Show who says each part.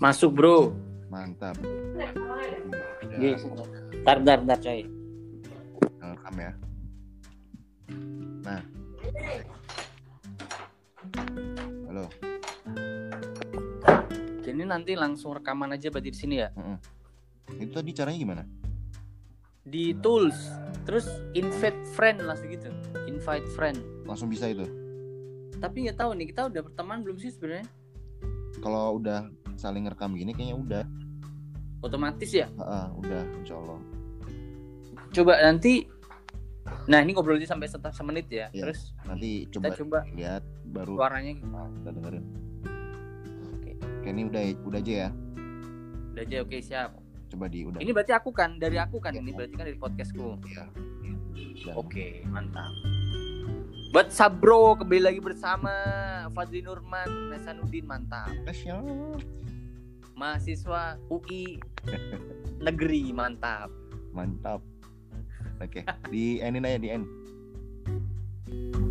Speaker 1: Masuk bro.
Speaker 2: Mantap.
Speaker 1: Ye.
Speaker 2: Udah
Speaker 1: Iya, Bentar, bentar, bentar coy.
Speaker 2: rekam ya. Nah. Halo.
Speaker 1: Jadi nanti langsung rekaman aja berarti di sini ya.
Speaker 2: Mm-mm. Itu tadi caranya gimana?
Speaker 1: Di tools. Terus invite friend langsung gitu. Invite friend.
Speaker 2: Langsung bisa itu.
Speaker 1: Tapi nggak tahu nih kita udah berteman belum sih sebenarnya?
Speaker 2: Kalau udah saling rekam gini kayaknya udah.
Speaker 1: Otomatis ya.
Speaker 2: Ha-ha, udah insya Allah.
Speaker 1: Coba nanti. Nah ini ngobrol aja sampai setengah semenit ya.
Speaker 2: Iya.
Speaker 1: Terus
Speaker 2: Nanti
Speaker 1: kita
Speaker 2: coba
Speaker 1: coba
Speaker 2: lihat baru
Speaker 1: suaranya
Speaker 2: nah, kita dengerin.
Speaker 1: Oke.
Speaker 2: Oke, ini udah udah aja ya.
Speaker 1: udah aja oke siap.
Speaker 2: Coba di udah.
Speaker 1: Ini berarti aku kan dari aku kan
Speaker 2: Iya.
Speaker 1: ini berarti kan dari podcastku.
Speaker 2: Ya. Dan-
Speaker 1: Oke, mantap. Buat Sabro kembali lagi bersama Fadli Nurman Hasanuddin mantap.
Speaker 2: Spesial.
Speaker 1: Mahasiswa UI negeri mantap.
Speaker 2: Mantap. Oke, di endin aja di end.